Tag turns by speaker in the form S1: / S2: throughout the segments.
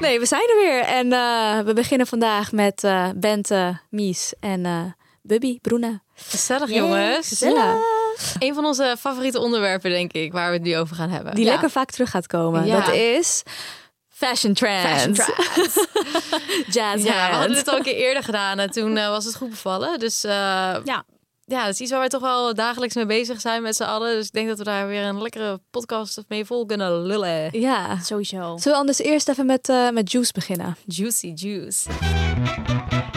S1: Nee, we zijn er weer. En eh, we beginnen vandaag met eh, Bente, Mies en eh, Bubby, Bruna.
S2: Gezellig,
S1: Yay,
S2: jongens.
S1: gezellig.
S2: Een van onze favoriete onderwerpen, denk ik, waar we het nu over gaan hebben.
S1: Die
S2: Ja.
S1: lekker vaak terug gaat komen.
S2: Ja.
S1: Dat is
S2: fashion trends.
S1: Fashion trends. Jazz
S2: Ja, we
S1: hands.
S2: hadden het al een keer eerder gedaan en toen eh, was het goed bevallen. Dus eh,
S1: Ja.
S2: ja, dat is iets waar wij toch wel dagelijks mee bezig zijn met z'n allen. Dus ik denk dat we daar weer een lekkere podcast mee vol kunnen lullen.
S1: Ja.
S3: Sowieso.
S1: Zullen we anders eerst even met, eh, met Juice beginnen?
S2: Juicy juice.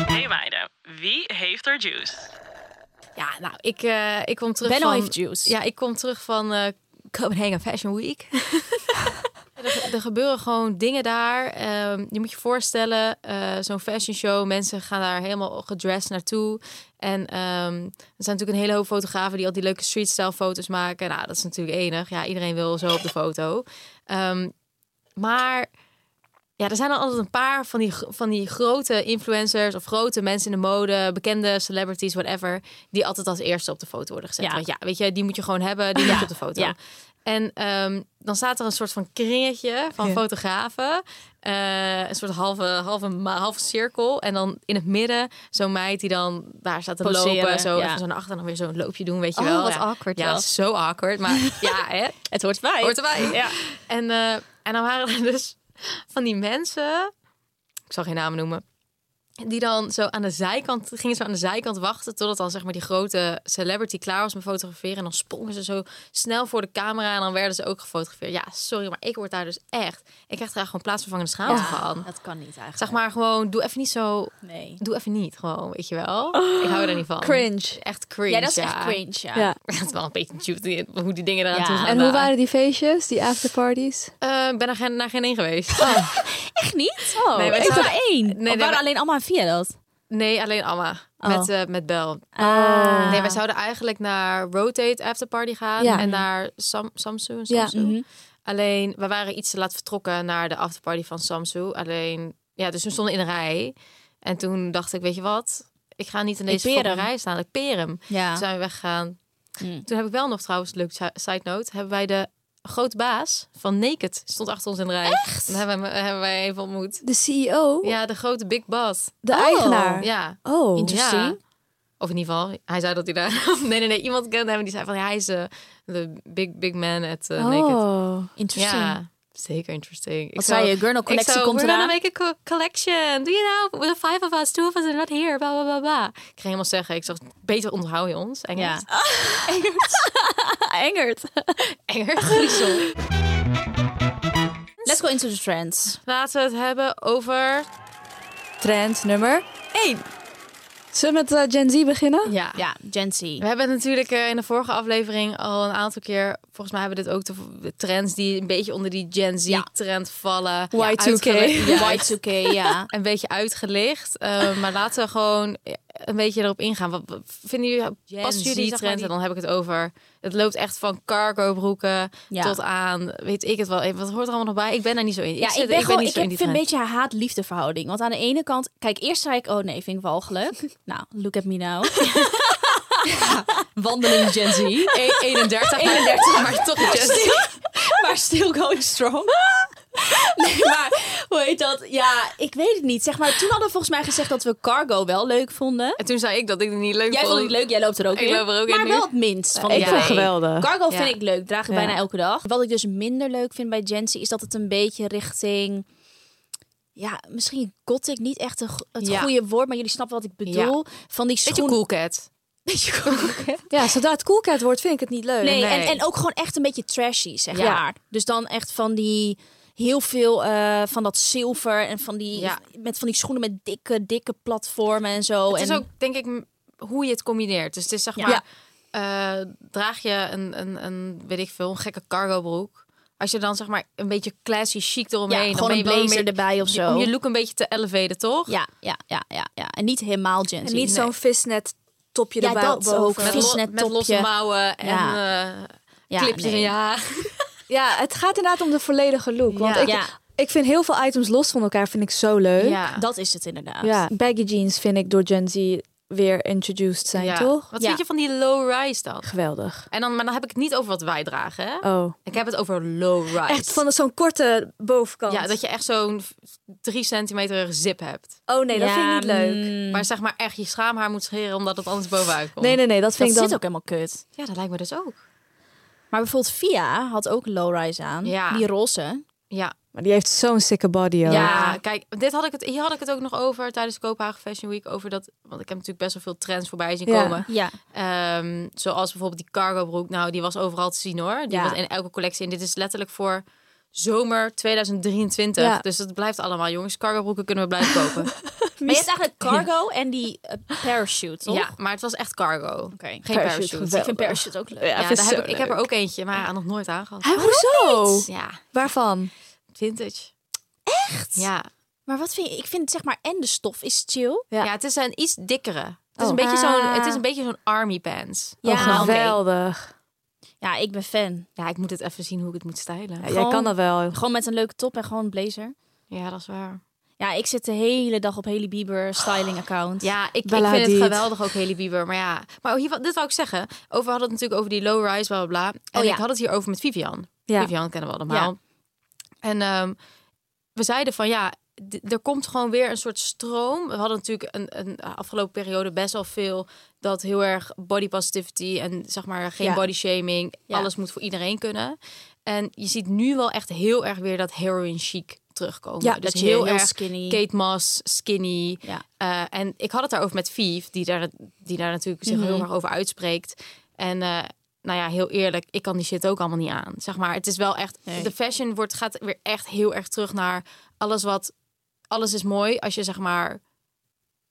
S4: Hey meiden, wie heeft er juice?
S2: Ja, nou, ik, eh, ik kom terug
S3: Benno
S2: van...
S3: heeft juice.
S2: Ja, ik kom terug van eh, Copenhagen Fashion Week. er, er gebeuren gewoon dingen daar. Ehm, je moet je voorstellen, eh, zo'n fashion show, mensen gaan daar helemaal gedressed naartoe. En ehm, er zijn natuurlijk een hele hoop fotografen die al die leuke streetstyle foto's maken. Nou, dat is natuurlijk enig. Ja, iedereen wil zo op de foto. Ehm, maar ja, er zijn dan altijd een paar van die, van die grote influencers of grote mensen in de mode, bekende celebrities, whatever, die altijd als eerste op de foto worden gezet.
S3: Ja.
S2: Want ja, weet je, die moet je gewoon hebben, die moet je op de foto.
S3: ja.
S2: En ehm, dan staat er een soort van kringetje van fotografen, eh, een soort halve, halve, ma- halve cirkel. En dan in het midden zo'n meid die dan daar staat te
S3: Poseren,
S2: lopen, zo
S3: ja.
S2: even zo naar achter en dan weer zo'n loopje doen, weet je
S3: Oh,
S2: wel.
S3: wat
S2: ja.
S3: awkward
S2: Ja,
S3: wel.
S2: dat is zo awkward, maar ja, hè.
S3: Het hoort bij.
S2: Hoort erbij.
S3: Ja.
S2: En, eh, en dan waren er dus van die mensen, ik zal geen namen noemen, die dan zo aan de zijkant, gingen zo aan de zijkant wachten totdat dan zeg maar die grote celebrity klaar was met fotograferen. En dan sprongen ze zo snel voor de camera en dan werden ze ook gefotografeerd. Ja, sorry, maar ik word daar dus echt, ik krijg daar gewoon plaatsvervangende schaamte van.
S3: Dat kan niet eigenlijk.
S2: Zeg maar gewoon, doe even niet zo,
S3: Nee.
S2: doe even niet gewoon, weet je wel. ik hou er niet van.
S1: Cringe.
S2: Echt cringe,
S3: Ja, dat is echt cringe, ja.
S1: Ja.
S2: Het is wel een beetje cute hoe die dingen eraan
S3: Ja.
S2: toe gaan.
S1: En hoe
S2: daar.
S1: waren die feestjes, die afterparties?
S2: Eh, ik ben er geen, naar geen één geweest.
S3: Oh. Echt niet? Oh, nee,
S2: Nee, maar
S3: één
S2: het zou-
S3: op één.
S2: nee,
S3: Nee,
S2: nee,
S3: waren
S2: maar-
S3: alleen allemaal via dat?
S2: Nee, alleen Amma.
S3: Oh.
S2: Met, eh, met Bel.
S1: Ah.
S2: Nee, wij zouden eigenlijk naar Rotate Afterparty gaan.
S1: Ja.
S2: En naar Sam, Samsung.
S1: Ja.
S2: Samsung.
S3: Mhm.
S2: Alleen, we waren iets te laat vertrokken naar de afterparty van Samsung. Alleen, ja, dus we stonden in een rij. En toen dacht ik, weet je wat? Ik ga niet in
S3: Ik
S2: deze
S3: peer
S2: fucking
S3: hem.
S2: rij staan. Ik peer hem.
S3: Ja.
S2: Toen zijn we weggegaan.
S3: Mm.
S2: Toen heb ik wel nog trouwens, leuk si- side note, hebben wij de grote baas van Naked stond achter ons in de rij. Echt? Dan hebben, we hem- hebben wij even ontmoet.
S1: De CEO?
S2: Ja, de grote Big Boss.
S1: De eigenaar?
S2: E Ja.
S1: Oh.
S3: Interesting.
S2: Ja. Of in ieder geval, hij zei dat hij daar. nee, nee, nee. Iemand kende hem en die zei van ja, hij is eh, de big, big man at eh, Naked.
S1: Oh.
S3: Interesting.
S2: Ja, zeker interesting.
S3: Wat zei je? Gurnal collectie
S2: ik zo,
S3: komt
S2: we're gonna
S3: eraan.
S2: make a co- collection. Do you know? The five of us, two of us are not here. Bla, bla, bla, bla. Ik ging helemaal zeggen, ik zag, beter onthoud je ons. Engels.
S3: Ja.
S1: Engert.
S2: Engels. Griezel.
S3: Let's go into the trends.
S2: Laten we het hebben over...
S1: Trend nummer 1. Zullen we met eh, Gen Z beginnen?
S2: Ja.
S3: Ja, Gen Z.
S2: We hebben het natuurlijk eh, in de vorige aflevering al een aantal keer... Volgens mij hebben we dit ook de, de trends die een beetje onder die Gen
S3: Ja.
S2: Z-trend vallen.
S1: Y2K.
S2: uitgele- Ja,
S3: Y2K, ja.
S2: een beetje uitgelicht. eh, maar laten we gewoon eh, een beetje erop ingaan. Wat, wat vinden jullie, passen jullie die
S3: Z, zeg maar,
S2: trend?
S3: die-
S2: En dan heb ik het over. Het loopt echt van cargo broeken
S3: Ja.
S2: tot aan, weet ik het wel. even, Wat hoort er allemaal nog bij? Ik ben daar niet zo in.
S3: Ja,
S2: zit-
S3: ik ben gewoon,
S2: niet
S3: ik
S2: zo in
S3: heb,
S2: die
S3: vind een
S2: trend.
S3: beetje een haat-liefde verhouding. Want aan de ene kant, kijk, eerst zei ik, oh nee, vind ik walgelijk. nou, look at me now. Wandeling Gen Z.
S2: E- 31, 31, maar toch een Gen Z.
S3: maar still going strong. Nee, maar hoe heet dat? Ja, ik weet het niet. Zeg maar, toen hadden we volgens mij gezegd dat we cargo wel leuk vonden.
S2: En toen zei ik dat ik het niet leuk
S3: Jij vond het leuk, jij loopt er ook
S2: Ik
S3: in.
S2: loop er ook in
S3: maar
S2: nu.
S3: wel het minst van
S1: Ik
S3: de
S1: vond het
S3: twee.
S1: geweldig.
S3: Cargo
S2: Ja.
S3: vind ik leuk, draag ik bijna elke dag. Wat ik dus minder leuk vind bij Gen Z is dat het een beetje richting...
S5: ja, misschien gothic niet echt een go- het
S2: Ja.
S5: goede woord, maar jullie snappen wat ik bedoel. Van die
S2: Beetje
S5: schoenen.
S2: cool cat.
S5: Beetje cool.
S1: Ja, zodra het cool cat wordt, vind ik het niet leuk.
S5: Nee,
S2: Nee.
S5: En, en ook gewoon echt een beetje trashy, zeg
S2: Ja.
S5: maar. Dus dan echt van die heel veel eh, van dat zilver en van die
S2: Ja.
S5: met van die schoenen met dikke dikke platformen en zo.
S2: Het
S5: en
S2: is ook, denk ik, m- hoe je het combineert. Dus het is zeg
S5: Ja.
S2: maar, eh, draag je een, een, een, weet ik veel, een gekke cargo broek. Als je dan zeg maar een beetje classy chic
S5: ja,
S2: eromheen. dan
S5: gewoon
S2: ben
S5: een
S2: je wel
S5: blazer
S2: meer-
S5: erbij of zo.
S2: Om je look een beetje te elevaten, toch?
S5: Ja, ja, ja, ja, ja. En niet helemaal Gen Z.
S1: En niet zo'n visnet topje
S5: Ja,
S1: erbij
S5: dat
S1: boven.
S5: ook.
S2: Met,
S5: Vies
S2: lo
S5: net
S2: met losse
S5: topje.
S2: mouwen en
S5: Ja.
S2: eh,
S5: Ja,
S2: clipjes
S5: nee.
S2: in je haar.
S1: Ja, het gaat inderdaad om de volledige look. Want
S2: Ja.
S1: ik,
S5: Ja.
S1: ik vind heel veel items los van elkaar vind ik zo leuk.
S5: Dat is het inderdaad.
S1: Ja, baggy jeans vind ik door Gen Z weer introduced zijn,
S2: Ja.
S1: toch?
S2: Wat
S5: Ja.
S2: vind je van die low rise dan?
S1: Geweldig.
S2: En dan, maar dan heb ik het niet over wat wij dragen, hè?
S1: Oh.
S2: Ik heb het over low rise.
S1: Echt van zo'n korte bovenkant.
S2: Ja, dat je echt zo'n drie centimeter zip hebt.
S1: Oh nee, dat
S5: Ja,
S1: vind ik niet leuk.
S5: mm,
S2: Maar zeg maar echt je schaamhaar moet scheren omdat het anders bovenuit komt.
S1: Nee, nee, nee, dat
S5: dat
S1: vind ik
S5: zit
S1: dan...
S5: ook helemaal kut.
S2: Ja, dat lijkt me dus ook.
S5: Maar bijvoorbeeld Via had ook een low-rise aan.
S2: Ja.
S5: Die roze.
S2: Ja,
S1: Maar die heeft zo'n sikke body, ook.
S2: ja. kijk, dit had ik het, hier had ik het ook nog over tijdens de Kopenhagen Fashion Week. Over dat, want ik heb natuurlijk best wel veel trends voorbij zien
S1: Ja.
S2: komen.
S5: Ja.
S2: Ehm, zoals bijvoorbeeld die cargo broek. Nou, die was overal te zien hoor. Die
S5: Ja.
S2: was in elke collectie. En dit is letterlijk voor zomer 2023.
S1: Ja.
S2: Dus dat blijft allemaal, jongens. Cargo broeken kunnen we blijven kopen.
S5: Maar je hebt eigenlijk cargo en die eh, parachute, toch?
S2: ja, maar het was echt cargo. Geen
S1: Parachute,
S2: parachute.
S1: geweldig.
S5: Ik vind parachute ook leuk.
S2: Ja, daar heb ik, ik heb er ook eentje, maar nog nooit aangehad.
S1: Hè, hoezo?
S2: Ja,
S1: Waarvan?
S2: vintage. Echt? Ja.
S5: Maar wat vind je? Ik vind zeg maar en de stof is chill.
S2: Ja.
S1: Ja.
S2: het is een iets dikkere. Het is,
S1: Oh.
S2: een beetje zo'n,
S1: Ah.
S2: het is een beetje zo'n army pants.
S5: Ja,
S1: oh,
S5: oké.
S1: geweldig.
S5: Ja, ik ben fan.
S2: Ja, ik moet het even zien hoe ik het moet stylen.
S1: Ja, jij
S5: Gewoon-
S1: kan dat wel.
S5: Gewoon met een leuke top en gewoon een blazer.
S2: Ja, dat is waar.
S5: Ja, ik zit de hele dag op Haley Bieber styling account.
S2: Ja, ik, ik
S1: Bella
S2: vind het
S1: Hadid.
S2: geweldig ook, Haley Bieber. Maar ja, maar hier, dit wou ik zeggen. Over we hadden het natuurlijk over die low-rise, bla, bla, bla. En
S5: Oh ja.
S2: ik had het hier over met Vivian.
S1: Ja.
S2: Vivian kennen we allemaal. En ehm, we zeiden van ja, d- er komt gewoon weer een soort stroom. We hadden natuurlijk een, een afgelopen periode best wel veel dat heel erg body positivity en zeg maar geen
S1: Ja.
S2: body shaming.
S5: Ja.
S2: Alles moet voor iedereen kunnen. En je ziet nu wel echt heel erg weer dat heroin chic terugkomen.
S1: Ja,
S2: dus
S5: dat je
S2: heel,
S5: heel
S2: erg
S5: skinny-
S2: Kate Moss, skinny.
S5: Ja.
S2: Eh, en ik had het daarover met Vief, die daar, die daar natuurlijk zich
S5: Mhm.
S2: heel erg over uitspreekt. En eh, nou ja, heel eerlijk, ik kan die shit ook allemaal niet aan. Zeg maar, het is wel echt.
S5: Nee.
S2: De fashion wordt, gaat weer echt heel erg terug naar alles wat. Alles is mooi als je zeg maar.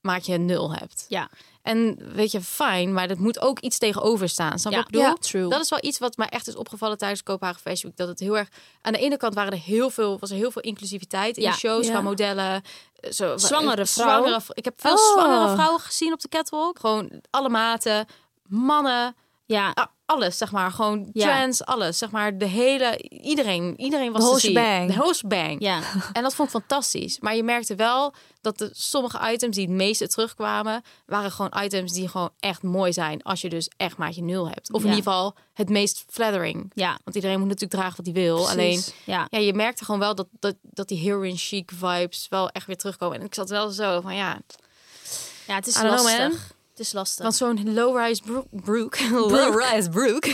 S2: Maak je een nul hebt.
S5: Ja.
S2: En weet je, fijn, maar dat moet ook iets tegenover staan. Snap je
S5: Ja,
S2: wat ik bedoel?
S5: ja, true.
S2: Dat is wel iets wat mij echt is opgevallen tijdens Kopenhagen Fashion Week. Dat het heel erg... Aan de ene kant waren er heel veel, was er heel veel inclusiviteit in
S5: Ja.
S2: de shows,
S1: Ja.
S2: qua modellen. eh, Zo,
S5: Zwangere
S2: eh,
S5: vrouwen.
S2: zwangere v- ik heb veel
S1: Oh.
S2: zwangere vrouwen gezien op de catwalk. Gewoon alle maten, mannen,
S5: Ja.
S2: a- alles zeg maar. Gewoon
S5: Ja.
S2: trans, alles. Zeg maar de hele... Iedereen, iedereen
S1: De
S2: was te
S1: whole
S2: zien.
S1: shebang.
S2: De whole shebang.
S5: Ja.
S2: En dat vond ik fantastisch. Maar je merkte wel dat de, sommige items die het meeste terugkwamen, waren gewoon items die gewoon echt mooi zijn. Als je dus echt maatje nul hebt. Of in
S5: Ja.
S2: ieder geval het meest flattering.
S5: Ja.
S2: Want iedereen moet natuurlijk dragen wat hij wil. Alleen
S5: Ja.
S2: ja, je merkte gewoon wel dat, dat, dat die heroin chic vibes wel echt weer terugkomen. En ik zat wel zo van ja,
S5: Ja, het is
S2: I don't know,
S5: lastig.
S2: man.
S5: het is lastig.
S2: want zo'n low-rise broek. broek low-rise broek.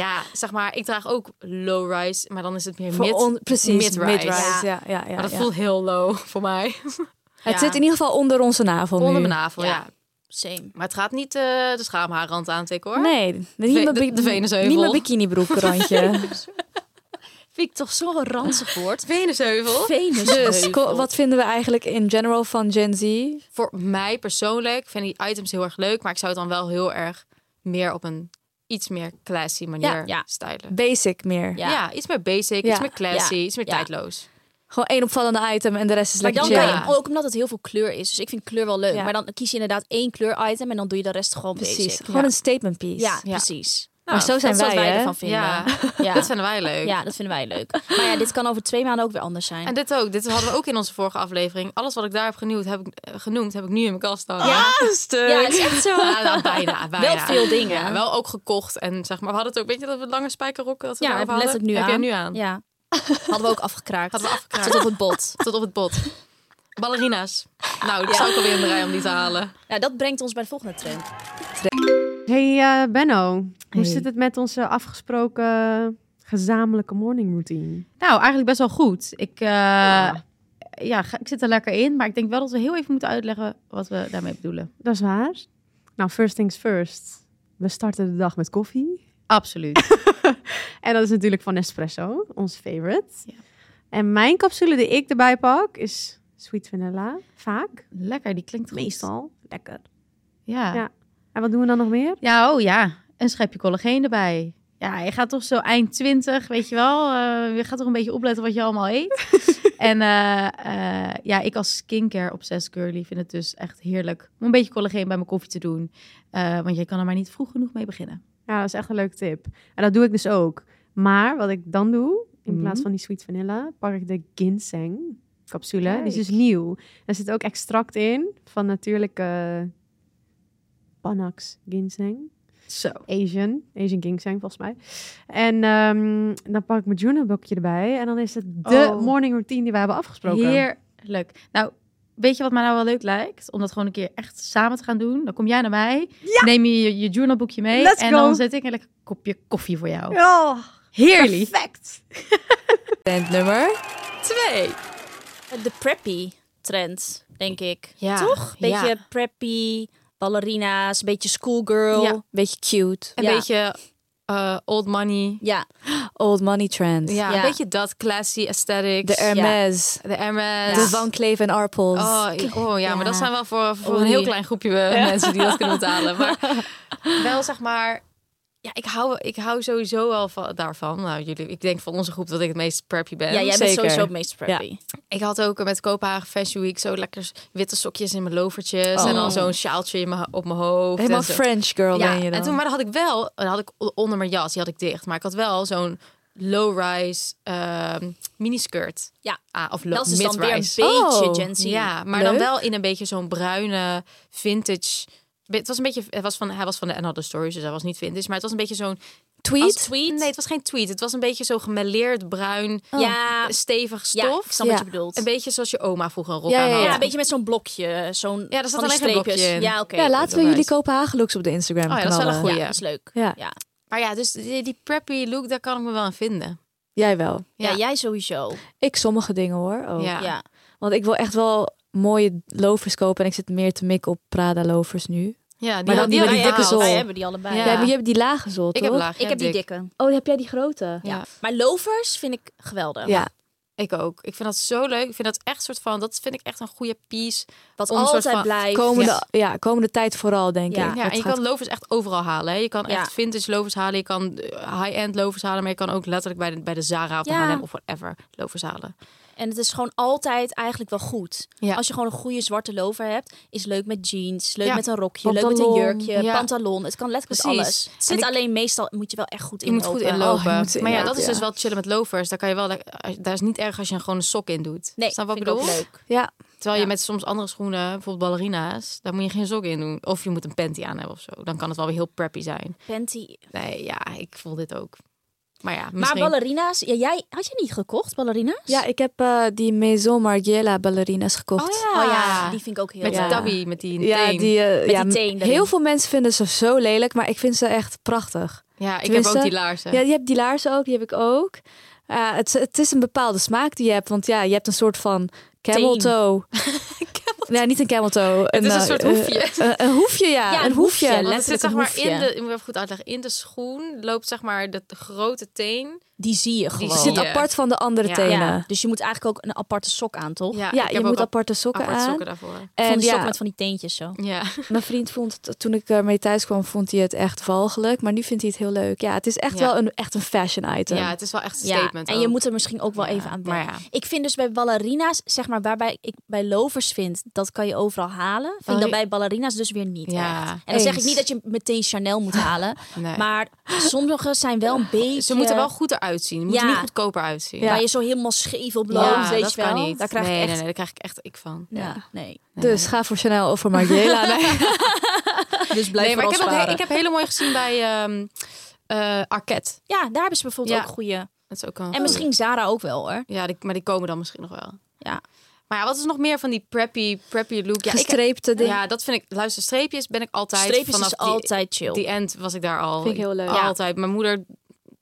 S2: ja, zeg maar, ik draag ook low-rise, maar dan is het meer
S1: Voor
S2: mid.
S1: on- precies,
S2: mid-rise.
S1: Ja, ja, ja,
S2: maar dat
S1: ja.
S2: voelt heel low voor mij.
S1: Het zit in ieder geval onder onze navel
S2: Onder
S1: nu.
S2: mijn navel,
S5: Ja.
S2: ja.
S5: Same.
S2: Maar het gaat niet eh, de schaamhaarrand aantikken hoor.
S1: Nee, niet
S2: Ve-
S1: mijn,
S2: de-
S1: bi-
S2: de Venusheuvel.
S1: niet mijn bikinibroekrandje.
S5: Vind ik toch zo'n ranzig woord.
S2: Venusheuvel.
S5: Venus.
S1: dus ko- wat vinden we eigenlijk in general van Gen Z?
S2: Voor mij persoonlijk vind ik die items heel erg leuk, maar ik zou het dan wel heel erg meer op een iets meer classy manier
S5: Ja, ja.
S2: stylen.
S1: Basic meer.
S2: Ja. iets meer basic,
S1: Ja.
S2: iets meer classy,
S5: Ja.
S2: iets meer
S5: Ja.
S2: tijdloos.
S1: Gewoon één opvallende item en de rest is
S5: Maar
S1: lekker
S5: dan
S1: chill.
S5: kan je, ook omdat het heel veel kleur is. Dus ik vind kleur wel leuk.
S1: Ja.
S5: Maar dan kies je inderdaad één kleur item en dan doe je de rest gewoon
S1: Precies,
S5: basic.
S1: gewoon een statement piece.
S5: Ja,
S2: Ja.
S5: precies. Nou,
S1: maar zo
S5: dat
S1: zijn
S5: is wat
S1: wij,
S5: wij
S1: hè?
S5: ervan vinden.
S2: Ja.
S5: Ja.
S2: Dat vinden wij leuk.
S5: Ja, dat vinden wij leuk. Maar ja, dit kan over twee maanden ook weer anders zijn.
S2: En dit ook. Dit hadden we ook in onze vorige aflevering. Alles wat ik daar heb genoemd, heb ik, eh, genoemd, heb ik nu in mijn kast staan.
S5: Ja.
S2: stuk.
S5: ja, het is echt zo.
S2: Ja, dus. nou, bijna, bijna.
S5: Wel veel dingen.
S2: Ja, wel ook gekocht. En zeg maar, we hadden het ook, weet je, dat we lange spijkerrokken dat we
S5: Ja,
S2: daarop
S5: heb
S2: hadden.
S5: letterlijk nu
S2: heb
S5: aan.
S2: jij nu aan?
S5: Ja. Hadden we ook afgekraakt.
S2: Hadden we afgekraakt.
S5: Tot op het bot.
S2: Tot op het bot. Ballerina's. Nou, die zou ik alweer in de rij om die te halen.
S5: Nou, dat brengt ons bij de volgende trend.
S6: Hey eh, Benno, hoe zit het met onze afgesproken gezamenlijke morning routine?
S7: Nou, eigenlijk best wel goed. Ik, eh,
S8: ja, ga- ik zit er lekker in. Maar ik denk wel dat we heel even moeten uitleggen wat we daarmee bedoelen.
S6: Dat is waar. Nou, first things first. We starten de dag met koffie.
S8: Absoluut.
S6: En dat is natuurlijk van Nespresso, ons favorite.
S8: Ja.
S6: En mijn capsule die ik erbij pak is sweet vanilla. Vaak.
S8: lekker, die klinkt goed.
S6: Meestal. Lekker.
S8: Ja.
S6: Ja.
S8: ja.
S6: En wat doen we dan nog meer?
S8: oh ja. Een schepje collageen erbij. Ja, je gaat toch zo eind 20, weet je wel. eh, je gaat toch een beetje opletten wat je allemaal eet. en eh, eh, ja, ik als skincare obsessed girly vind het dus echt heerlijk om een beetje collageen bij mijn koffie te doen. Eh, want je kan er maar niet vroeg genoeg mee beginnen.
S6: Ja, dat is echt een leuke tip. En dat doe ik dus ook. Maar wat ik dan doe, in
S8: Mhm.
S6: plaats van die sweet vanilla, pak ik de ginseng capsule. Die is dus
S8: Kijk.
S6: nieuw. Er zit ook extract in van natuurlijke Panax ginseng.
S8: Zo.
S6: Asian, Asian ginseng volgens mij. En ehm, dan pak ik mijn journalboekje erbij. En dan is het de
S8: Oh.
S6: morning routine die we hebben afgesproken.
S8: Heerlijk. Nou, weet je wat mij nou wel leuk lijkt? Om dat gewoon een keer echt samen te gaan doen. Dan kom jij naar mij, neem je je, je journalboekje mee
S6: Let's
S8: en
S6: go.
S8: dan zet ik een lekker kopje koffie voor jou.
S6: Oh,
S8: Heerlijk.
S6: perfect.
S2: Band nummer 2.
S5: De preppy trend, denk ik.
S2: Ja,
S5: Toch? Beetje
S2: ja.
S5: preppy, ballerina's, beetje schoolgirl.
S2: Ja.
S1: Beetje cute.
S2: Een
S5: Ja.
S2: beetje eh, old money.
S5: Ja,
S1: Old money trend.
S2: Ja,
S5: Ja.
S2: een beetje dat classy aesthetics.
S1: De Hermes.
S2: De Hermes.
S1: De Van Cleef en Arpels.
S2: Oh, ja, oh ja, maar dat zijn wel voor, voor
S1: Oei.
S2: een heel klein groepje eh, mensen die dat kunnen betalen. Maar wel zeg maar. Ja, ik hou, ik hou sowieso wel van, daarvan. Nou, jullie, ik denk van onze groep dat ik het meest preppy ben.
S5: ja jij bent
S1: zeker.
S5: sowieso het meest preppy.
S2: Ik had ook met Kopenhagen Fashion Week zo lekker witte sokjes in mijn lovertjes. En dan zo'n sjaaltje in mijn, op mijn hoofd.
S1: Helemaal
S2: en zo.
S1: French girl
S2: Ja,
S1: ben je dan.
S2: en toen, maar dan had ik wel, dan had ik o- onder mijn jas, die had ik dicht. Maar ik had wel zo'n low-rise ehm, miniskirt.
S5: Ja.
S2: Ah, of low,
S5: Dat is dus dan weer een
S2: mid-rise.
S5: beetje
S1: Oh,
S5: Gen Z.
S2: Ja, maar dan
S1: Leuk.
S2: wel in een beetje zo'n bruine vintage. Het was een beetje, het was van, hij was van de Another Stories, dus hij was niet vintage. Maar het was een beetje zo'n
S5: Als
S1: Tweet?
S5: tweet?
S2: Nee, het was geen tweet. Het was een beetje zo gemêleerd bruin,
S1: Oh.
S5: Ja,
S2: Oh. stevig stof.
S5: ja, ik snap wat
S1: Ja.
S5: je bedoelt.
S2: Een beetje zoals je oma vroeger een rok
S1: Ja,
S2: aan
S1: ja,
S2: had.
S5: ja, een beetje met zo'n blokje. Zo'n
S2: Ja, daar zat
S5: van die
S2: alleen geen blokje
S5: streepjes.
S2: in.
S5: Ja, oké.
S1: ja, laten we
S2: nice.
S1: jullie Kopenhagen looks op de Instagram
S2: Oh ja, dat is wel
S1: knallen.
S2: een goeie.
S5: Ja, dat is leuk.
S1: Ja.
S5: Ja.
S2: Maar ja, dus die, die preppy look, daar kan ik me wel aan vinden.
S1: Jij wel.
S5: Ja,
S2: Ja.
S5: jij sowieso.
S1: Ik sommige dingen hoor. Ook.
S2: Ja.
S5: Ja.
S1: Want ik wil echt wel mooie lovers kopen. En ik zit meer te mikken op Prada lovers nu.
S2: Ja, die
S1: Maar dan
S2: had-
S1: die met die
S2: had ik
S1: dikke
S2: gehaald.
S1: zol.
S5: Wij hebben die allebei.
S2: Ja.
S1: Ja, maar je hebt die lage zol,
S2: Ik
S1: toch?
S2: heb laag.
S5: Ik heb die
S2: dik.
S5: dikke.
S1: Oh, heb jij die grote?
S2: Ja.
S5: Maar lovers vind ik geweldig.
S1: Ja.
S2: Ik ook. Ik vind dat zo leuk. Ik vind dat echt soort van, dat vind ik echt een goede piece.
S5: Wat
S2: Om een soort
S5: altijd
S2: van
S5: blijft.
S1: Komende,
S5: Ja.
S1: ja. komende tijd vooral, denk
S5: Ja.
S1: ik.
S2: Ja,
S1: Dat
S2: en je
S1: gaat-
S2: kan lovers echt overal halen. Hè. Je kan
S5: Ja.
S2: echt vintage lovers halen. Je kan eh, high-end lovers halen. Maar je kan ook letterlijk bij de, bij de Zara of de
S5: Ja.
S2: H&M of whatever lovers halen.
S5: En het is gewoon altijd eigenlijk wel goed.
S2: Ja.
S5: Als je gewoon een goede zwarte lover hebt, is leuk met jeans, leuk
S2: Ja.
S5: met een rokje, leuk met
S1: Pantalon,
S5: een jurkje,
S2: ja.
S5: pantalon. Het kan letterlijk
S2: Precies.
S5: alles.
S2: En
S5: Het zit
S2: ik-
S5: alleen meestal, moet je wel echt goed
S2: Je moet goed inlopen.
S1: Oh, je moet
S2: maar ja,
S1: inderdaad,
S2: dat is
S1: ja.
S2: dus wel chillen met lovers. Daar, kan je wel, lekker- als- daar is niet erg als je er gewoon een sok in doet.
S5: Nee,
S2: Snap je wat ik
S5: vind ik ook
S2: bedoel?
S5: leuk.
S1: Ja,
S2: Terwijl je met soms andere schoenen, bijvoorbeeld ballerina's, daar moet je geen sok in doen. Of je moet een panty aan hebben of zo. Dan kan het wel weer heel preppy zijn.
S5: Panty.
S2: Nee, ja, ik voel dit ook. Maar ja, misschien...
S5: Maar ballerina's, ja, jij had je niet gekocht, ballerina's?
S1: ja ik heb eh, die Maison Margiela ballerina's gekocht.
S5: Oh ja, die vind ik ook heel
S2: Met die
S5: leuk.
S1: Ja.
S2: tabby, met die
S1: Ja,
S2: teen.
S1: die, eh,
S5: die
S1: ja,
S5: teen erin.
S1: heel veel mensen vinden ze zo lelijk, maar ik vind ze echt prachtig.
S2: Ja, ik heb
S1: Tenminste,
S2: ook die laarzen.
S1: Ja, je hebt die laarzen ook, die heb ik ook. Eh, het, het is een bepaalde smaak die je hebt, want ja, je hebt een soort van camel
S5: Teen.
S1: toe. Nee, niet een camel toe. Het
S2: is een soort hoefje.
S1: Een, een hoefje, ja.
S5: Ja,
S1: een hoefje.
S5: Want het
S2: Want het zit
S1: letterlijk
S2: zeg
S1: een
S2: maar
S1: hoefje.
S2: in de, ik moet even goed uitleggen, in de schoen loopt zeg maar de, de grote teen.
S5: Die zie je
S2: Die
S5: gewoon.
S1: Het
S2: zie
S1: zit
S2: je.
S1: apart van de andere
S2: Ja.
S1: tenen.
S5: Ja,
S1: Ja,
S5: dus je moet eigenlijk ook een aparte sok aan, toch?
S2: Ja, ik
S1: je
S2: heb
S1: moet
S2: ook ap-
S1: aparte sokken
S2: apart
S1: aan.
S2: sokken daarvoor.
S5: Van
S1: en
S5: die sok
S1: ja,
S5: met van die teentjes zo.
S2: Ja,
S1: mijn vriend vond het, toen ik ermee thuis kwam, vond hij het echt walgelijk. Maar nu vindt hij het heel leuk. Ja, het is echt
S2: Ja.
S1: wel een, echt een fashion item.
S2: ja het is wel echt een
S5: Ja,
S2: statement
S5: en je
S2: ook.
S5: moet er misschien ook wel even aan
S2: maar
S5: wennen. Ik vind dus bij ballerina's, zeg maar, waarbij ik bij lovers vind, dat kan je overal halen. Vind ik dat bij ballerina's dus weer niet
S2: Oh, Ja,
S5: echt. En dan zeg ik
S1: eens.
S5: niet dat je meteen Chanel moet halen.
S2: Nee.
S5: Maar sommige zijn wel een beetje...
S2: Ze moeten wel goed eruit zien. Ze moeten
S5: Ja.
S2: niet goedkoper uitzien.
S5: Waar je zo helemaal scheef op
S2: Ja,
S5: loopt, weet
S2: dat
S5: je wel.
S2: kan niet.
S5: Daar krijg
S2: nee,
S5: ik echt...
S2: nee, nee, daar krijg ik echt ik van.
S5: Ja, nee.
S1: Dus ga voor Chanel of voor Margiela. Nee.
S5: Dus blijf
S2: Nee, maar ik heb, ook, he- ik heb hele mooie gezien bij ehm eh, Arquette.
S5: Ja, daar hebben ze bijvoorbeeld
S2: Ja. Oh.
S5: ook goede.
S2: Dat is ook een
S5: En misschien Zara ook wel, hoor.
S2: Ja, die, maar die komen dan misschien nog wel.
S5: Ja.
S2: Maar ja, wat is nog meer van die preppy, preppy look? Ja, ik,
S1: Gestreepte dingen.
S2: ja, dat vind ik... Luister, streepjes ben ik altijd...
S5: Streepjes
S2: vanaf
S5: is
S2: die-
S5: altijd chill.
S2: Die end was ik daar al.
S1: Vind ik heel leuk. Ja.
S2: Altijd. Mijn moeder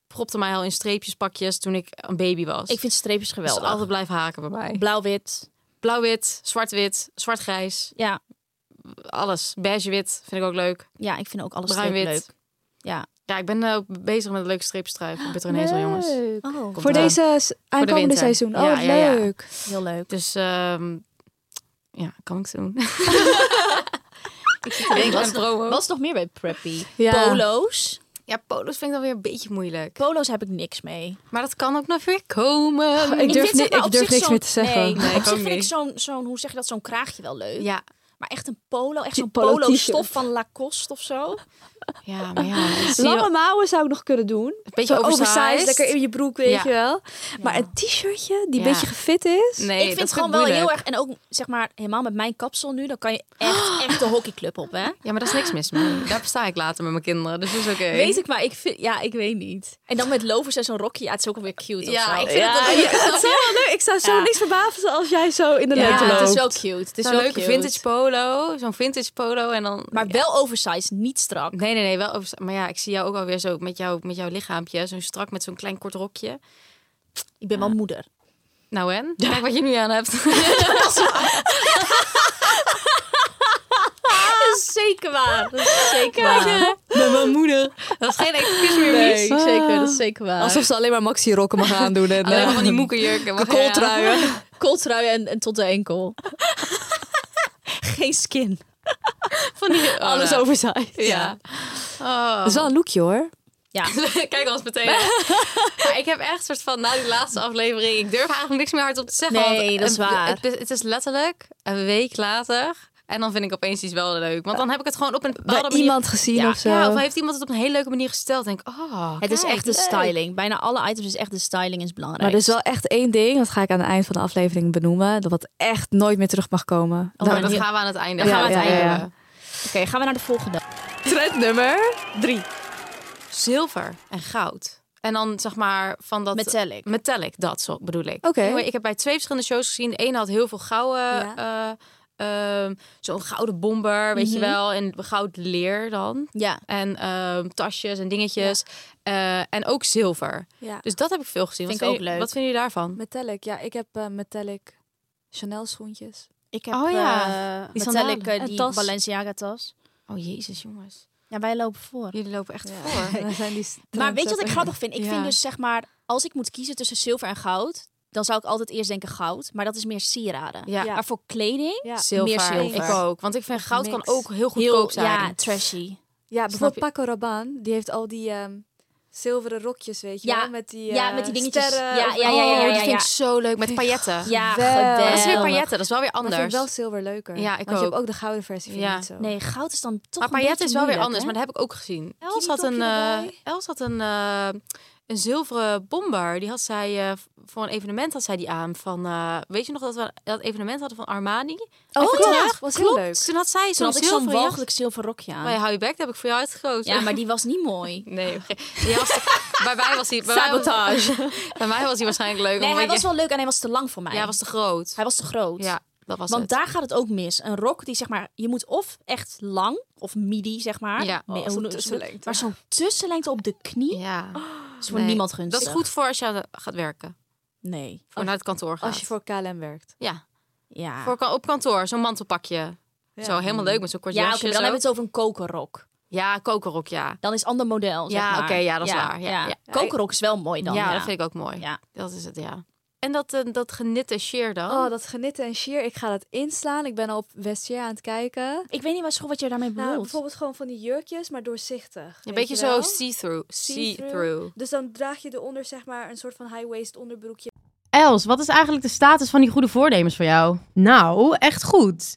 S2: propte mij al in streepjespakjes toen ik een baby was.
S5: Ik vind streepjes
S2: dus
S5: geweldig.
S2: altijd blijven haken bij mij.
S5: Blauw-wit.
S2: Blauw-wit, zwart-wit, zwart-grijs.
S5: Ja.
S2: Alles. Beige-wit vind ik ook leuk.
S5: Ja, ik vind ook alles
S2: Bruin-wit.
S5: leuk. Ja.
S2: Ja, ik ben eh, bezig met een leuke streepstruik op Bitternezel, jongens.
S5: Oh,
S2: Komt
S1: Voor
S2: eraan.
S1: deze s- aankomende
S2: winter.
S1: seizoen. Oh,
S2: Ja,
S1: wat
S2: ja, ja.
S1: leuk.
S5: heel leuk.
S2: Dus ehm, ja, kan ik doen.
S5: Ik
S2: Ik
S5: was,
S2: ben promo.
S5: was nog meer bij Preppy.
S1: Ja.
S5: Polo's.
S2: Ja, polo's vind ik dan weer een beetje moeilijk.
S5: Polo's heb ik niks mee.
S2: Maar dat kan ook nog weer komen.
S1: Ik durf,
S5: vind,
S1: ni-
S5: zeg maar,
S1: ik
S5: op
S1: durf
S5: zich
S1: niks
S5: zo'n-
S1: meer te zeggen.
S5: Nee,
S2: Nee,
S5: op
S2: ik
S5: zich
S2: ook
S5: vind ik
S2: niet.
S5: zo'n, zo'n, hoe zeg je dat, zo'n kraagje wel leuk.
S2: Ja,
S5: Maar echt een polo, echt zo'n
S1: polo
S5: polo stof
S1: t-shirt.
S5: van Lacoste of zo.
S2: ja, maar ja. het zie je-
S1: Lange mouwen zou ik nog kunnen doen.
S2: Een beetje oversized.
S1: lekker in je broek, weet
S2: Ja.
S1: je wel. Maar een t-shirtje die een
S2: Ja.
S1: beetje gefit is.
S2: Nee,
S5: ik
S2: dat
S5: vind het gewoon wel
S2: moeilijk.
S5: heel erg. En ook zeg maar helemaal met mijn kapsel nu, dan kan je echt, echt de hockeyclub op, hè?
S2: Ja, maar daar is niks mis mee. Daar sta ik later met mijn kinderen, dus dat is oké.
S5: Weet ik, maar ik vind, ja, ik weet niet. En dan met lovers en zo'n rokje, ja, het is ook alweer cute. of zo.
S2: Ja, ik vind het wel
S1: Ja, het zou wel leuk. Ik zou zo
S5: Ja.
S1: niks verbazen als jij zo in de
S5: Ja,
S1: lente loopt.
S5: het is wel cute. Het is
S2: Zo'n
S5: wel
S2: leuke
S5: cute.
S2: vintage polo, zo'n vintage polo en dan...
S5: Maar wel oversized, niet strak.
S2: Nee, nee, nee, wel over... Maar ja, ik zie jou ook alweer zo met, jou, met jouw lichaampje, zo strak met zo'n klein kort rokje.
S5: Ik ben wel moeder.
S2: Nou en? Kijk wat je nu aan hebt.
S5: Zeker waar. Dat is zeker waar.
S2: ben wel moeder. Dat is geen excuus meer, Mies.
S5: zeker, dat is zeker waar.
S3: Alsof ze alleen maar maxi-rokken mag aandoen. En,
S2: Alleen
S3: eh,
S2: maar van die moekenjurken. maar ja.
S3: kooltruien.
S5: Kooltrui en, en tot de enkel. Geen skin.
S2: Van die...
S3: Alles
S2: over.
S3: oversized.
S2: Ja. Oh.
S3: Dat is wel een lookje hoor.
S2: Kijk ons meteen. aan. maar ik heb echt soort van, na die laatste aflevering, ik durf eigenlijk niks meer hardop te zeggen.
S5: Nee,
S2: want
S5: dat is
S2: het-
S5: waar.
S2: Het, het is letterlijk een week later. En dan vind ik opeens iets wel leuk. Want dan heb ik het gewoon op een
S1: Bij
S2: bepaalde manier...
S1: iemand gezien
S2: Ja,
S1: of zo.
S2: ja, of heeft iemand het op een hele leuke manier gesteld. denk ik, oh,
S5: Het is echt de styling. Bijna alle items is echt de styling is belangrijk.
S1: maar er is wel echt één ding, dat ga ik aan het eind van de aflevering benoemen, dat wat echt nooit meer terug mag komen.
S5: Oh, maar
S2: dat
S5: hier-
S2: gaan we aan het einde.
S5: Dan gaan we
S1: Ja,
S5: aan het
S1: ja,
S5: einde.
S1: ja.
S5: hebben. Oké, gaan we naar de volgende.
S1: Trendnummer.
S2: Zilver en goud. En dan zeg maar van dat...
S5: Metallic.
S2: Metallic, dat zo bedoel ik.
S1: Oké.
S2: Anyway, ik heb bij twee verschillende shows gezien. De ene had heel veel gouden, eh, ehm, zo'n gouden bomber, weet je wel. En goud leer dan.
S5: Mhm. Ja.
S2: En ehm, tasjes en dingetjes. Eh, en ook zilver.
S1: Ja.
S2: Dus dat heb ik veel gezien.
S5: Vind
S2: wat vinden
S5: ik ook
S2: jullie-
S5: leuk.
S2: Wat vinden jullie daarvan?
S1: Metallic, ja, ik heb eh, metallic Chanel schoentjes.
S5: Ik heb
S2: Oh,
S5: oh,
S2: ja.
S5: ja.
S2: Die
S5: metallic
S2: sandalen.
S5: eh, die
S1: Een tas.
S5: Balenciaga tas.
S2: Oh jezus, jongens.
S5: Ja, wij lopen voor.
S2: Jullie lopen echt voor.
S1: Dan zijn die
S5: Maar weet je wat ik
S1: trendsetters.
S5: grappig vind? Ik
S2: Ja.
S5: vind dus zeg maar, als ik moet kiezen tussen zilver en goud, dan zou ik altijd eerst denken goud. Maar dat is meer sieraden.
S2: Ja,
S5: Maar voor kleding,
S1: Ja.
S2: zilver.
S5: meer zilver.
S2: Ik ook. Want ik vind goud
S1: niks.
S2: kan ook heel
S5: heel
S2: goedkoop zijn.
S5: ja, trashy.
S1: Ja,
S2: Snap
S1: bijvoorbeeld Paco Rabanne, die heeft al die ehm, zilveren rokjes, weet je
S5: Ja.
S1: wel, met die
S5: Ja,
S1: eh,
S5: met die dingetjes.
S1: sterren
S5: Ja,
S1: over-
S5: ja, ja, ja,
S2: Oh,
S5: ja,
S2: die
S5: ja,
S2: vind ik
S5: ja.
S2: zo leuk. Met pailletten.
S5: Ja,
S1: Geweldig.
S2: Dat is weer
S5: geweldig.
S2: pailletten. Dat is wel weer
S1: Maar ik vind
S2: anders.
S1: wel zilver leuker.
S2: Ja, ik
S1: Want je hebt
S2: ook.
S1: ook de gouden versie, vind ik
S2: Ja.
S1: niet zo.
S5: Nee, goud is dan toch
S2: Maar
S5: een
S2: pailletten is
S5: beetje
S2: wel weer anders.
S5: moeilijk,
S2: Maar
S5: hè?
S2: dat heb ik ook gezien. Els had
S1: Kindertopje
S2: een, eh,
S1: erbij.
S2: Els had een, eh, een zilveren bomber. Die had zij eh, voor een evenement had zij die aan. Van, eh, weet je nog dat we dat evenement hadden van Armani?
S1: Oh,
S2: Even terug.
S1: klopt. Was heel
S2: Klopt.
S1: leuk.
S2: Toen had zij
S5: Toen
S2: zo'n
S5: had ik zo'n
S2: zilveren jacht.
S5: walgelijk zilver rokje aan.
S2: Maar ja, hou je bek, dat heb ik voor jou uitgekozen.
S5: Ja, maar die was niet mooi.
S2: Nee, die was, bij mij was hij... Bij mij was- bij mij was hij waarschijnlijk leuk.
S5: Nee,
S2: omdat
S5: hij
S2: je-
S5: was wel leuk en hij was te lang voor mij.
S2: Ja, hij was te groot.
S5: Hij was te groot.
S2: Ja, dat was
S5: Want
S2: het.
S5: daar gaat het ook mis. Een rok die zeg maar, je moet of echt lang of midi zeg maar.
S2: Ja.
S5: Me-
S2: Oh,
S5: hoe noem- Maar zo'n tussenlengte op de knie
S2: Ja.
S5: Oh, is voor
S2: Nee.
S5: niemand gunstig.
S2: Dat is goed voor als je gaat werken.
S5: Nee.
S2: Voor naar het kantoor gaat.
S1: Als je voor KLM werkt.
S2: Ja,
S5: Ja.
S2: voor, ka- op kantoor. Zo'n mantelpakje. Zo helemaal leuk met zo'n kort
S5: ja, oké,
S2: jasje.
S5: maar dan
S2: zo.
S5: hebben we het over een kokerrok.
S2: Ja, kokerrok, ja.
S5: Dan is ander model. zeg
S2: Ja,
S5: maar.
S2: oké, ja, dat is waar. Ja, ja.
S5: Kokerrok is wel mooi dan.
S2: ja,
S5: Ja,
S2: dat vind ik ook mooi.
S5: Ja.
S2: Dat is het, ja. En dat, eh, dat genitte sheer dan?
S1: Oh, dat genitten en sheer. Ik ga dat inslaan. Ik ben al op Westier aan het kijken.
S5: Ik weet niet wat, wat je daarmee bedoelt.
S1: Nou, bijvoorbeeld gewoon van die jurkjes, maar doorzichtig.
S2: een
S1: weet
S2: beetje
S1: je
S2: zo
S1: wel?
S2: see-through.
S1: See-through.
S2: See-through.
S1: Dus dan draag je eronder zeg maar een soort van high-waist onderbroekje.
S9: Els, wat is eigenlijk de status van die goede voornemens voor jou?
S6: Nou, echt goed.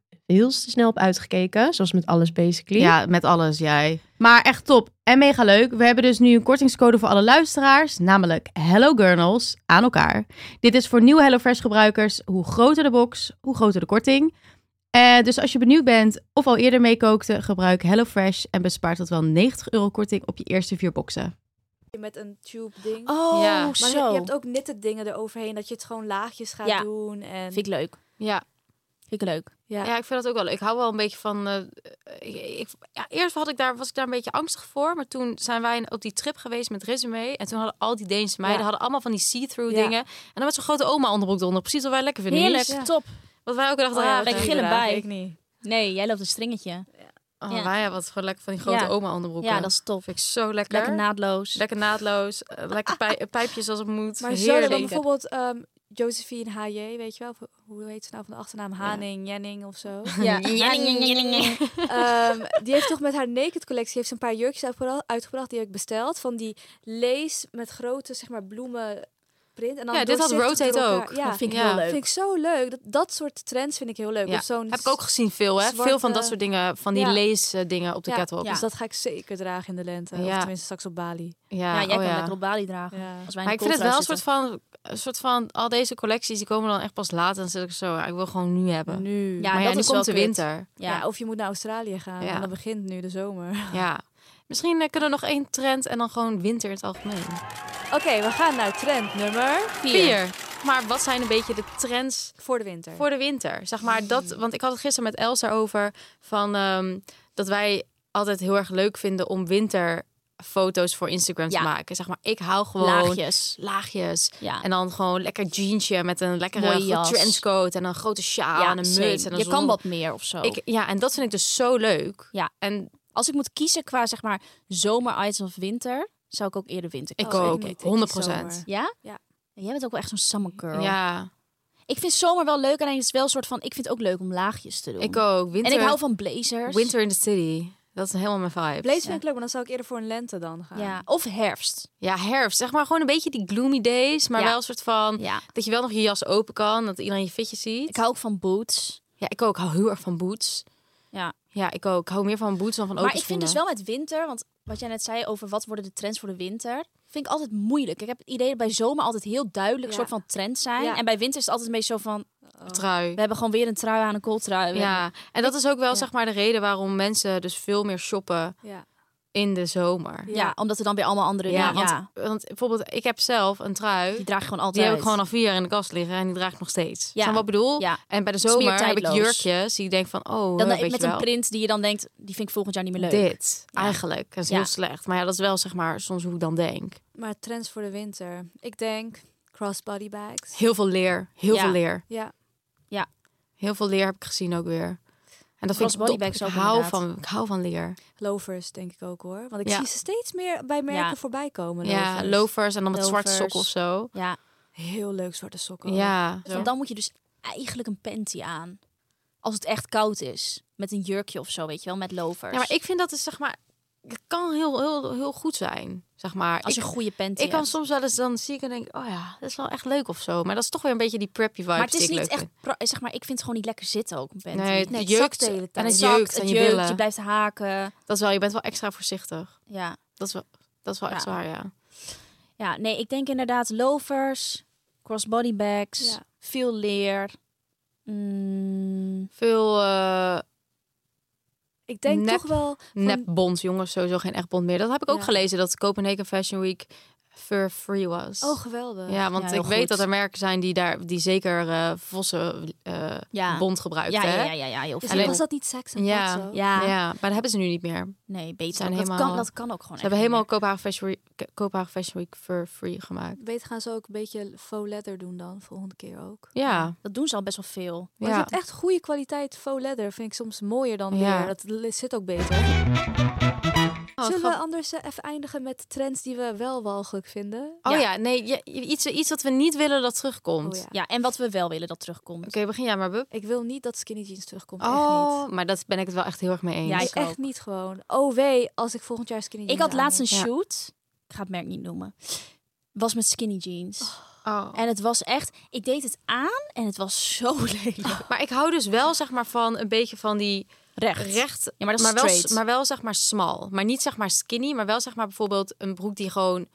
S10: heel te snel op uitgekeken. Zoals met alles basically.
S6: Ja, met alles, jij. Maar echt top en mega leuk. We hebben dus nu een kortingscode voor alle luisteraars, namelijk Hello Gurnals aan elkaar. Dit is voor nieuwe HelloFresh gebruikers. Hoe groter de box, hoe groter de korting. Eh, dus als je benieuwd bent of al eerder meekookte, gebruik HelloFresh en bespaart tot wel 90 euro korting op je eerste vier boxen.
S1: Met een tube ding.
S5: Oh,
S2: Ja.
S1: maar je-
S5: zo.
S1: je hebt ook knitted dingen eroverheen. Dat je het gewoon laagjes gaat
S5: Ja.
S1: doen. En...
S5: Vind ik leuk.
S2: Ja.
S5: Vind ik leuk.
S1: Ja.
S2: ja, ik vind dat ook wel leuk. Ik hou wel een beetje van... eh, ik, ik- ja, eerst had ik daar, was ik daar een beetje angstig voor. Maar toen zijn wij op die trip geweest met Resume. En toen hadden al die Deense meiden
S1: Ja.
S2: hadden allemaal van die see-through
S1: Ja.
S2: dingen. En dan met zo'n grote oma onderbroek eronder. Precies wat wij lekker vinden.
S5: Heerlijk,
S2: Niet?
S5: top.
S2: Wat wij ook dachten, ah,
S5: Oh ja,
S2: ja,
S5: lekker
S2: wij-
S5: gillen bij.
S1: Ik niet.
S5: Nee, jij loopt een stringetje.
S2: Oh,
S5: Ja.
S2: wij hebben het gewoon lekker van die grote
S5: Ja.
S2: oma onderbroeken.
S5: Ja, dat is top.
S2: vind ik zo lekker.
S5: Lekker naadloos.
S2: Lekker naadloos. eh, lekker pij- pijpjes als het moet.
S1: Maar zo
S2: Heerlijk.
S1: dan bijvoorbeeld ehm Josephine H.J., weet je wel? Of Hoe heet ze nou van de achternaam? Haning, Jenning of zo.
S5: Ja.
S1: Ehm, die heeft toch met haar naked collectie heeft ze een paar jurkjes uitgebra- uitgebracht. Die heb ik besteld. Van die lees met grote zeg maar, bloemen print. En dan
S2: Ja, dit had
S1: doorzichtig door
S2: Rotate
S1: elkaar.
S2: ook.
S1: Ja,
S5: Dat vind ik
S2: Ja.
S5: heel leuk.
S1: vind ik zo leuk. Dat, dat soort trends vind ik heel leuk.
S2: Ja.
S1: Of zo'n
S2: Heb ik ook gezien veel, hè?
S1: zwarte-
S2: Veel van dat soort dingen, van die
S1: Ja.
S2: leesdingen op de
S1: Ja.
S2: catwalk.
S1: Dus dat ga ik zeker dragen in de lente. Of
S2: Ja.
S1: tenminste straks op Bali.
S2: Ja,
S5: Ja, jij
S2: oh
S5: kan
S2: ja.
S5: lekker op Bali dragen.
S1: Ja.
S5: Als wij in
S2: Maar
S5: de
S2: ik vind het wel
S5: kooltrui
S2: een soort van, een soort van, al deze collecties die komen dan echt pas later. En dan zit ik zo, ja, ik wil gewoon nu hebben.
S1: Nu.
S5: Ja,
S2: maar ja,
S5: dat
S2: nu
S5: is
S2: komt de
S5: wel kut.
S2: winter.
S5: zitten. Ja.
S1: Ja, of je moet naar Australië gaan.
S2: Ja.
S1: En dan begint nu de zomer.
S2: Ja. Misschien eh, kunnen we nog één trend en dan gewoon winter in het algemeen.
S1: Oké, we gaan naar trend nummer
S2: Vier. Maar wat zijn een beetje de trends
S1: voor de winter.
S2: Voor de winter. Zeg maar dat, want ik had het gisteren met Els daarover. Van ehm, dat wij altijd heel erg leuk vinden om winterfoto's voor Instagram
S5: Ja.
S2: te maken. Zeg maar, ik hou gewoon
S5: Laagjes.
S2: laagjes.
S5: Ja.
S2: En dan gewoon lekker jeansje met een lekkere
S5: Mooie
S2: goed
S5: jas.
S2: trenchcoat en een grote sjaal
S5: ja,
S2: en een
S5: same.
S2: muts. En een
S5: je kan
S2: zon- Oh.
S5: wat meer of zo.
S2: Ik, ja, en dat vind ik dus zo leuk.
S5: Ja.
S2: En
S5: Als ik moet kiezen qua zeg maar zomer of winter, zou ik ook eerder winter
S2: ik
S5: kiezen.
S1: Oh, ik
S2: ook,
S1: niet. Ik kies
S2: 100 procent.
S1: zomer.
S5: Ja?
S1: Ja.
S5: Jij bent ook wel echt zo'n summer girl.
S2: Ja,
S5: Ik vind zomer wel leuk, alleen het is wel een soort van... Ik vind het ook leuk om laagjes te doen.
S2: ik ook. Winter,
S5: En ik hou van blazers.
S2: Winter in the City. Dat is helemaal mijn vibe.
S1: Blaze vind ik leuk, maar dan zou ik eerder voor een lente dan gaan.
S5: Ja, of herfst.
S2: Ja, herfst. Zeg maar gewoon een beetje die gloomy days. Maar
S5: Ja.
S2: wel een soort van...
S5: Ja.
S2: Dat je wel nog je jas open kan, dat iedereen je fitjes ziet.
S5: Ik hou ook van boots.
S2: Ja, ik ook. Ik hou heel erg van boots.
S5: Ja.
S2: Ja, ik ook. Ik hou meer van boots dan van open
S5: Maar ik vind dus
S2: schoenen.
S5: wel met winter, want wat jij net zei over wat worden de trends voor de winter, vind ik altijd moeilijk. Ik heb het idee dat bij zomer altijd heel duidelijk
S1: Ja.
S5: soort van trends zijn.
S1: Ja.
S5: En bij winter is het altijd een beetje zo van,
S2: trui.
S5: we hebben gewoon weer een trui aan, een kooltrui.
S2: Ja, en dat is ook wel zeg maar de reden waarom mensen dus veel meer shoppen
S1: Ja.
S2: in de zomer.
S5: Ja, omdat er dan weer allemaal andere
S2: Ja,
S5: dingen...
S2: want,
S5: ja,
S2: want bijvoorbeeld ik heb zelf een trui.
S5: die
S2: Die,
S5: draag je gewoon altijd.
S2: heb ik gewoon al vier jaar in de kast liggen en die draag ik nog steeds.
S5: Ja.
S2: Snap je wat ik bedoel?
S5: Ja.
S2: En bij de
S5: Het is meer
S2: zomer heb ik
S5: tijdloos.
S2: jurkjes die ik denk van, oh,
S5: Dan eh,
S2: weet je
S5: met
S2: wel.
S5: een print die je dan denkt, die vind ik volgend jaar niet meer leuk.
S2: Dit,
S5: Ja.
S2: eigenlijk. Dat is
S5: Ja.
S2: heel slecht. Maar ja, dat is wel zeg maar soms hoe ik dan denk.
S1: Maar trends voor de winter. Ik denk crossbody bags.
S2: Heel veel leer. Heel
S5: Ja.
S2: veel leer.
S1: Ja.
S2: Heel veel leer heb ik gezien ook weer. En dat vind ik
S5: Crossbody
S2: top.
S5: bags
S2: Ik
S5: ook
S2: hou,
S5: inderdaad.
S2: van, ik hou van leer.
S1: Lovers denk ik ook hoor. Want ik
S2: Ja.
S1: zie ze steeds meer bij merken
S5: Ja.
S1: voorbij komen.
S2: Ja,
S1: lovers.
S2: loafers en dan met zwarte
S5: Loafers.
S2: sokken of zo.
S5: Ja,
S1: Heel leuk zwarte sokken.
S2: Ja.
S5: want dan moet je dus eigenlijk een panty aan. Als het echt koud is. Met een jurkje of zo, weet je wel, met lovers.
S2: ja, maar ik vind dat is zeg maar... Het kan heel, heel, heel goed zijn, zeg maar.
S5: Als je
S2: ik,
S5: een goede panty
S2: ik kan
S5: hebt.
S2: soms wel eens dan zie ik en denk... Oh ja, dat is wel echt leuk of zo. Maar dat is toch weer een beetje die preppy vibe
S5: Maar het is
S2: die ik
S5: niet
S2: leuk
S5: echt, pra- zeg maar, ik vind het gewoon niet lekker zitten ook. Een
S2: vind.
S5: panty.
S2: Nee, het
S5: Nee,
S2: jeukt
S5: zakt de hele tijd.
S2: En het
S5: zakt,
S2: jeukt aan
S5: het
S2: je
S5: jeukt,
S2: billen.
S5: je blijft haken.
S2: Dat is wel, je bent wel extra voorzichtig.
S5: Ja.
S2: Dat is wel, dat is wel echt
S5: Ja.
S2: waar, ja.
S5: ja, nee, ik denk inderdaad lovers, crossbody bags,
S1: Ja.
S5: veel leer. Mm,
S2: Veel eh
S1: Ik denk
S2: Nep.
S1: toch wel. Van-
S2: nepbond, jongens. Sowieso geen echt bond meer. Dat heb ik ook
S1: Ja.
S2: gelezen, dat Copenhagen Fashion Week fur-free was.
S1: Oh, geweldig.
S2: Ja, want
S5: heel
S2: ik weet
S5: goed.
S2: dat er merken zijn die daar die zeker eh vossen eh,
S5: Ja.
S2: bond gebruiken.
S5: ja,
S2: hè?
S5: ja, ja, ja, ja, heel
S1: Is
S5: veel.
S1: dat-
S2: Alleen-
S1: Dus was dat niet seks en
S2: Ja.
S1: pot zo?
S5: Ja,
S2: Ja, maar dat hebben ze nu niet meer. Ze
S5: nee, beter.
S2: zijn
S5: ook. dat,
S2: helemaal-
S5: kan, dat kan ook gewoon.
S2: hebben
S5: echt
S2: helemaal
S5: niet
S2: Kopenhagen Fashion, Week, Kopenhagen Fashion Week for free gemaakt.
S1: Beter gaan ze ook een beetje faux leather doen dan volgende keer ook.
S2: Ja, Oh,
S5: meer. Dat doen ze al best wel veel.
S1: Maar
S2: ja.
S1: je hebt echt goede kwaliteit faux leather. Vind ik soms mooier dan
S2: Ja.
S1: leer. Dat l- zit ook beter.
S2: wat
S1: Zullen we
S2: grappig.
S1: anders eh, even eindigen met trends die we wel walgelijk vinden?
S2: Oh ja, nee, ja, iets, iets wat we niet willen dat terugkomt.
S1: Oh ja.
S5: Ja, en wat we wel willen dat terugkomt.
S2: Oké, begin jij maar, Bub.
S1: Ik wil niet dat skinny jeans terugkomt. echt niet.
S2: Oh, maar dat ben ik het wel echt heel erg mee eens.
S5: Ja,
S1: Nee,
S5: ik
S1: echt
S5: ook.
S1: niet gewoon. Oh wee, als ik volgend jaar skinny
S5: Ik
S1: jeans
S5: had laatst een
S1: aandoe.
S2: Ja.
S5: shoot. Ik ga het merk niet noemen. Was met skinny jeans.
S2: Oh.
S5: En het was echt... Ik deed het aan en het was zo lelijk.
S2: Maar ik hou dus wel zeg maar van een beetje van die
S5: Recht.
S2: recht,
S5: Ja, maar dat is
S2: maar, wel,
S5: straight.
S2: maar wel zeg maar smal. Maar niet zeg maar skinny, maar wel zeg maar bijvoorbeeld een broek die gewoon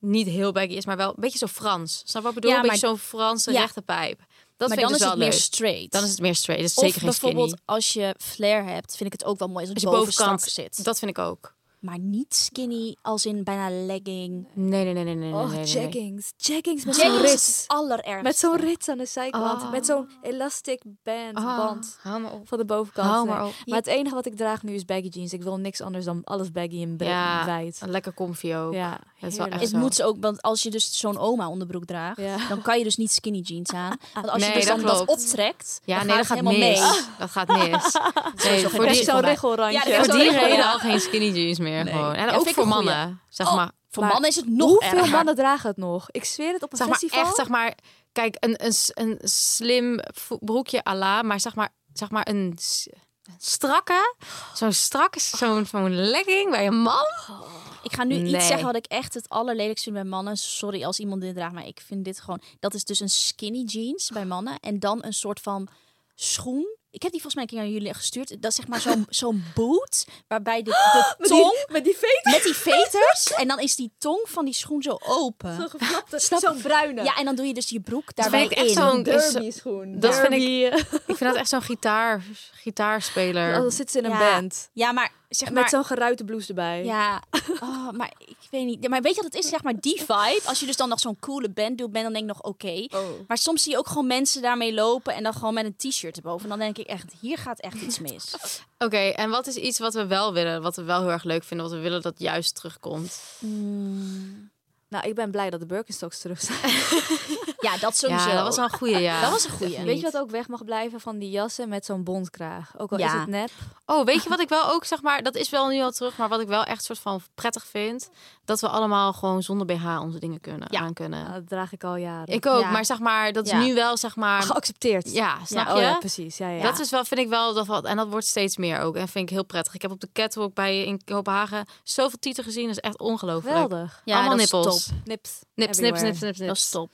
S2: niet heel baggy is, maar wel een beetje zo Frans. Snap je wat ik bedoel?
S5: Ja,
S2: een beetje
S5: maar-
S2: zo'n Franse
S5: Ja.
S2: rechte pijp. Dat
S5: maar
S2: vind
S5: dan
S2: ik dus
S5: is
S2: wel
S5: het
S2: leuk.
S5: meer straight.
S2: Dan is het meer straight. Dat is
S5: of
S2: zeker geen
S5: bijvoorbeeld
S2: skinny.
S5: als je flare hebt, vind ik het ook wel mooi als het
S2: Als je
S5: bovenkant
S2: bovenkant
S5: zit.
S2: Dat vind ik ook.
S5: Maar niet skinny als in bijna legging.
S2: Nee, nee, nee, nee, nee.
S1: Oh,
S2: nee, nee, nee.
S1: jeggings. Jeggings met zo'n
S5: Jeggings
S1: rit.
S5: is het allerergste.
S1: Met zo'n rits aan de zijkant.
S2: Oh.
S1: Met zo'n elastic band,
S2: Ah,
S1: band
S2: hou maar op.
S1: van de bovenkant.
S2: Hou
S1: Nee.
S2: maar op.
S1: Maar het enige wat ik draag nu is baggy jeans. Ik wil niks anders dan alles baggy en ba-
S2: Ja,
S1: wijd.
S2: lekker comfy ook.
S1: Ja,
S2: Dat is wel
S1: heerlijk.
S2: echt
S5: Het
S2: zo.
S5: moet ze ook, want als je dus zo'n oma onderbroek draagt,
S1: Ja.
S5: dan kan je dus niet skinny jeans aan. Want als
S2: Nee,
S5: je dus
S2: dat
S5: dan dat
S2: klopt.
S5: optrekt,
S2: Ja,
S5: dan
S2: nee, dat
S5: gaat
S2: gaat
S5: het helemaal
S2: mis.
S1: Ah,
S5: mee.
S2: Dat gaat mis. Nee, voor
S5: geen
S2: die,
S1: Echt zo'n
S5: van mij.
S1: regelrandje.
S5: Ja, dat
S2: voor
S5: is
S2: die
S5: wel een goeie.
S2: reden al geen skinny jeans meer gewoon. En
S5: Ja, vind
S2: ook
S5: ik
S2: voor
S5: een goeie.
S2: mannen, zeg
S5: Oh,
S2: maar.
S5: Voor
S1: Maar
S5: mannen is het nog
S1: Hoeveel
S5: erger.
S1: mannen dragen het nog? Ik zweer het op een
S2: Zeg maar
S1: festival.
S2: echt, zeg maar... Kijk, een, een, s- een slim vo- broekje à la, maar zeg maar, zeg maar een s- een strakke, zo'n strakke, zo'n zo'n legging bij een man.
S5: Ik ga nu
S2: Nee.
S5: iets zeggen wat ik echt het allerlelijkst vind bij mannen. Sorry als iemand dit draagt, maar ik vind dit gewoon... Dat is dus een skinny jeans bij mannen. En dan een soort van schoen. Ik heb die volgens mij een keer aan jullie gestuurd. Dat is zeg maar zo'n zo'n boot, waarbij de, de tong...
S1: Met die veter.
S5: Met die veters. En dan is die tong van die schoen zo open.
S1: Zo'n bruine.
S5: Ja, en dan doe je dus je broek
S2: Dat
S5: daarbij
S2: vind ik echt
S5: in.
S2: zo'n...
S1: derby schoen.
S2: Dat vind ik... Ik vind dat echt zo'n gitaar, gitaarspeler.
S5: Oh,
S1: Dan zit ze in een
S5: Ja.
S1: band.
S5: Ja, maar zeg maar...
S1: Met zo'n geruite blouse erbij.
S5: Ja, oh, maar ik weet niet. Maar weet je wat het is? Zeg maar die vibe. Als je dus dan nog zo'n coole band doet, ben dan denk ik nog oké. Maar soms zie je ook gewoon mensen daarmee lopen en dan gewoon met een t-shirt erboven. En dan denk ik echt, hier gaat echt iets mis.
S2: Oké, en wat is iets wat we wel willen, wat we wel heel erg leuk vinden, wat we willen dat juist terugkomt?
S1: Nou, ik ben blij dat de Birkenstocks terug zijn.
S5: Ja, dat sowieso.
S2: Ja, dat was wel een goede ja.
S5: Dat was een goeie.
S1: Weet je wat ook weg mag blijven van die jassen met zo'n bondkraag? Ook al is
S5: Ja.
S1: het nep.
S2: Oh, weet je wat ik wel ook zeg maar, dat is wel nu al terug, maar wat ik wel echt soort van prettig vind, dat we allemaal gewoon zonder BH onze dingen kunnen
S5: Ja.
S2: aan kunnen.
S1: Nou, dat draag ik al jaren.
S2: Ik ook,
S5: Ja.
S2: maar zeg maar, dat is
S5: Ja.
S2: nu wel zeg maar,
S1: Geaccepteerd.
S2: ja, snap
S1: ja,
S2: je?
S1: Oh, ja, precies. Ja, ja.
S2: Dat is wel, vind ik wel, dat wat, en dat wordt steeds meer ook. En vind ik heel prettig. Ik heb op de catwalk bij in Kopenhagen zoveel tieten gezien, dat is echt ongelooflijk.
S1: geweldig.
S2: Ja, Allemaal
S5: dat is
S2: nippels.
S5: top.
S1: Nips.
S2: Nips, nips,
S1: everywhere.
S2: nips, nips,
S5: Dat
S2: nips.
S5: is top.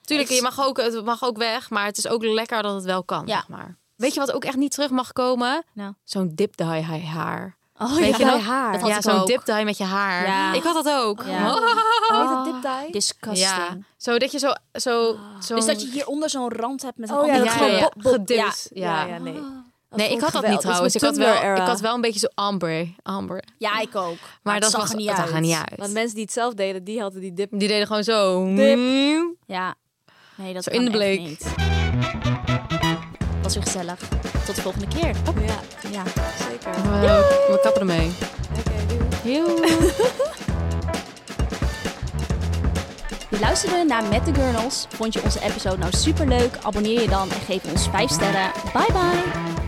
S2: Tuurlijk,
S5: Ik-
S2: je mag ook, het mag ook weg, maar het is ook lekker dat het wel kan.
S5: Ja.
S2: Zeg maar. Weet je wat ook echt niet terug mag komen?
S5: Nou.
S2: Zo'n dip-dye haar.
S5: Oh,
S2: Weet je nou-
S5: ja.
S2: nog?
S1: haar.
S5: Dat had
S2: Ja,
S5: ik
S2: zo'n
S5: ook.
S2: dip-dye met je haar.
S5: Ja.
S2: Ik had dat ook.
S5: Ja.
S1: Oh, heet het dip dye?
S5: Disgusting.
S2: Ja. Oh. Zo dat je zo... zo, zo
S5: Dus dat je hieronder zozo'n rand hebt met een
S1: Oh ja,
S5: andere
S1: dat
S2: Ja,
S1: gewoon
S2: ja,
S1: bob, bob.
S2: gedipt.
S1: Ja,
S2: Ja.
S1: ja, Ah. nee.
S2: Nee, ik had dat
S1: geweldig.
S2: niet trouwens.
S1: Dat
S2: Ik
S1: is
S2: had,
S1: mijn
S2: wel,
S1: Tumblr-era.
S2: ik had wel een beetje zo amber. amber.
S5: Ja, ik ook. Maar,
S2: Maar
S5: het
S2: dat
S5: zag
S2: was-
S5: er niet
S2: het
S5: uit.
S2: zag er niet uit.
S1: Want mensen die het zelf deden, die hadden die dip.
S2: Die deden gewoon zo... Mmm.
S1: Dip.
S5: Ja. Nee, dat
S2: Zo
S5: kan
S2: in de
S5: echt
S2: bleek.
S5: niet. Was weer gezellig. Tot de volgende keer.
S1: Ja,
S5: Ja.
S1: zeker.
S2: We, we kappen ermee.
S1: Oké, doei.
S5: Je luisterde naar Met de Girls. Vond je onze episode nou superleuk? Abonneer je dan en geef ons 5 sterren. Bye bye!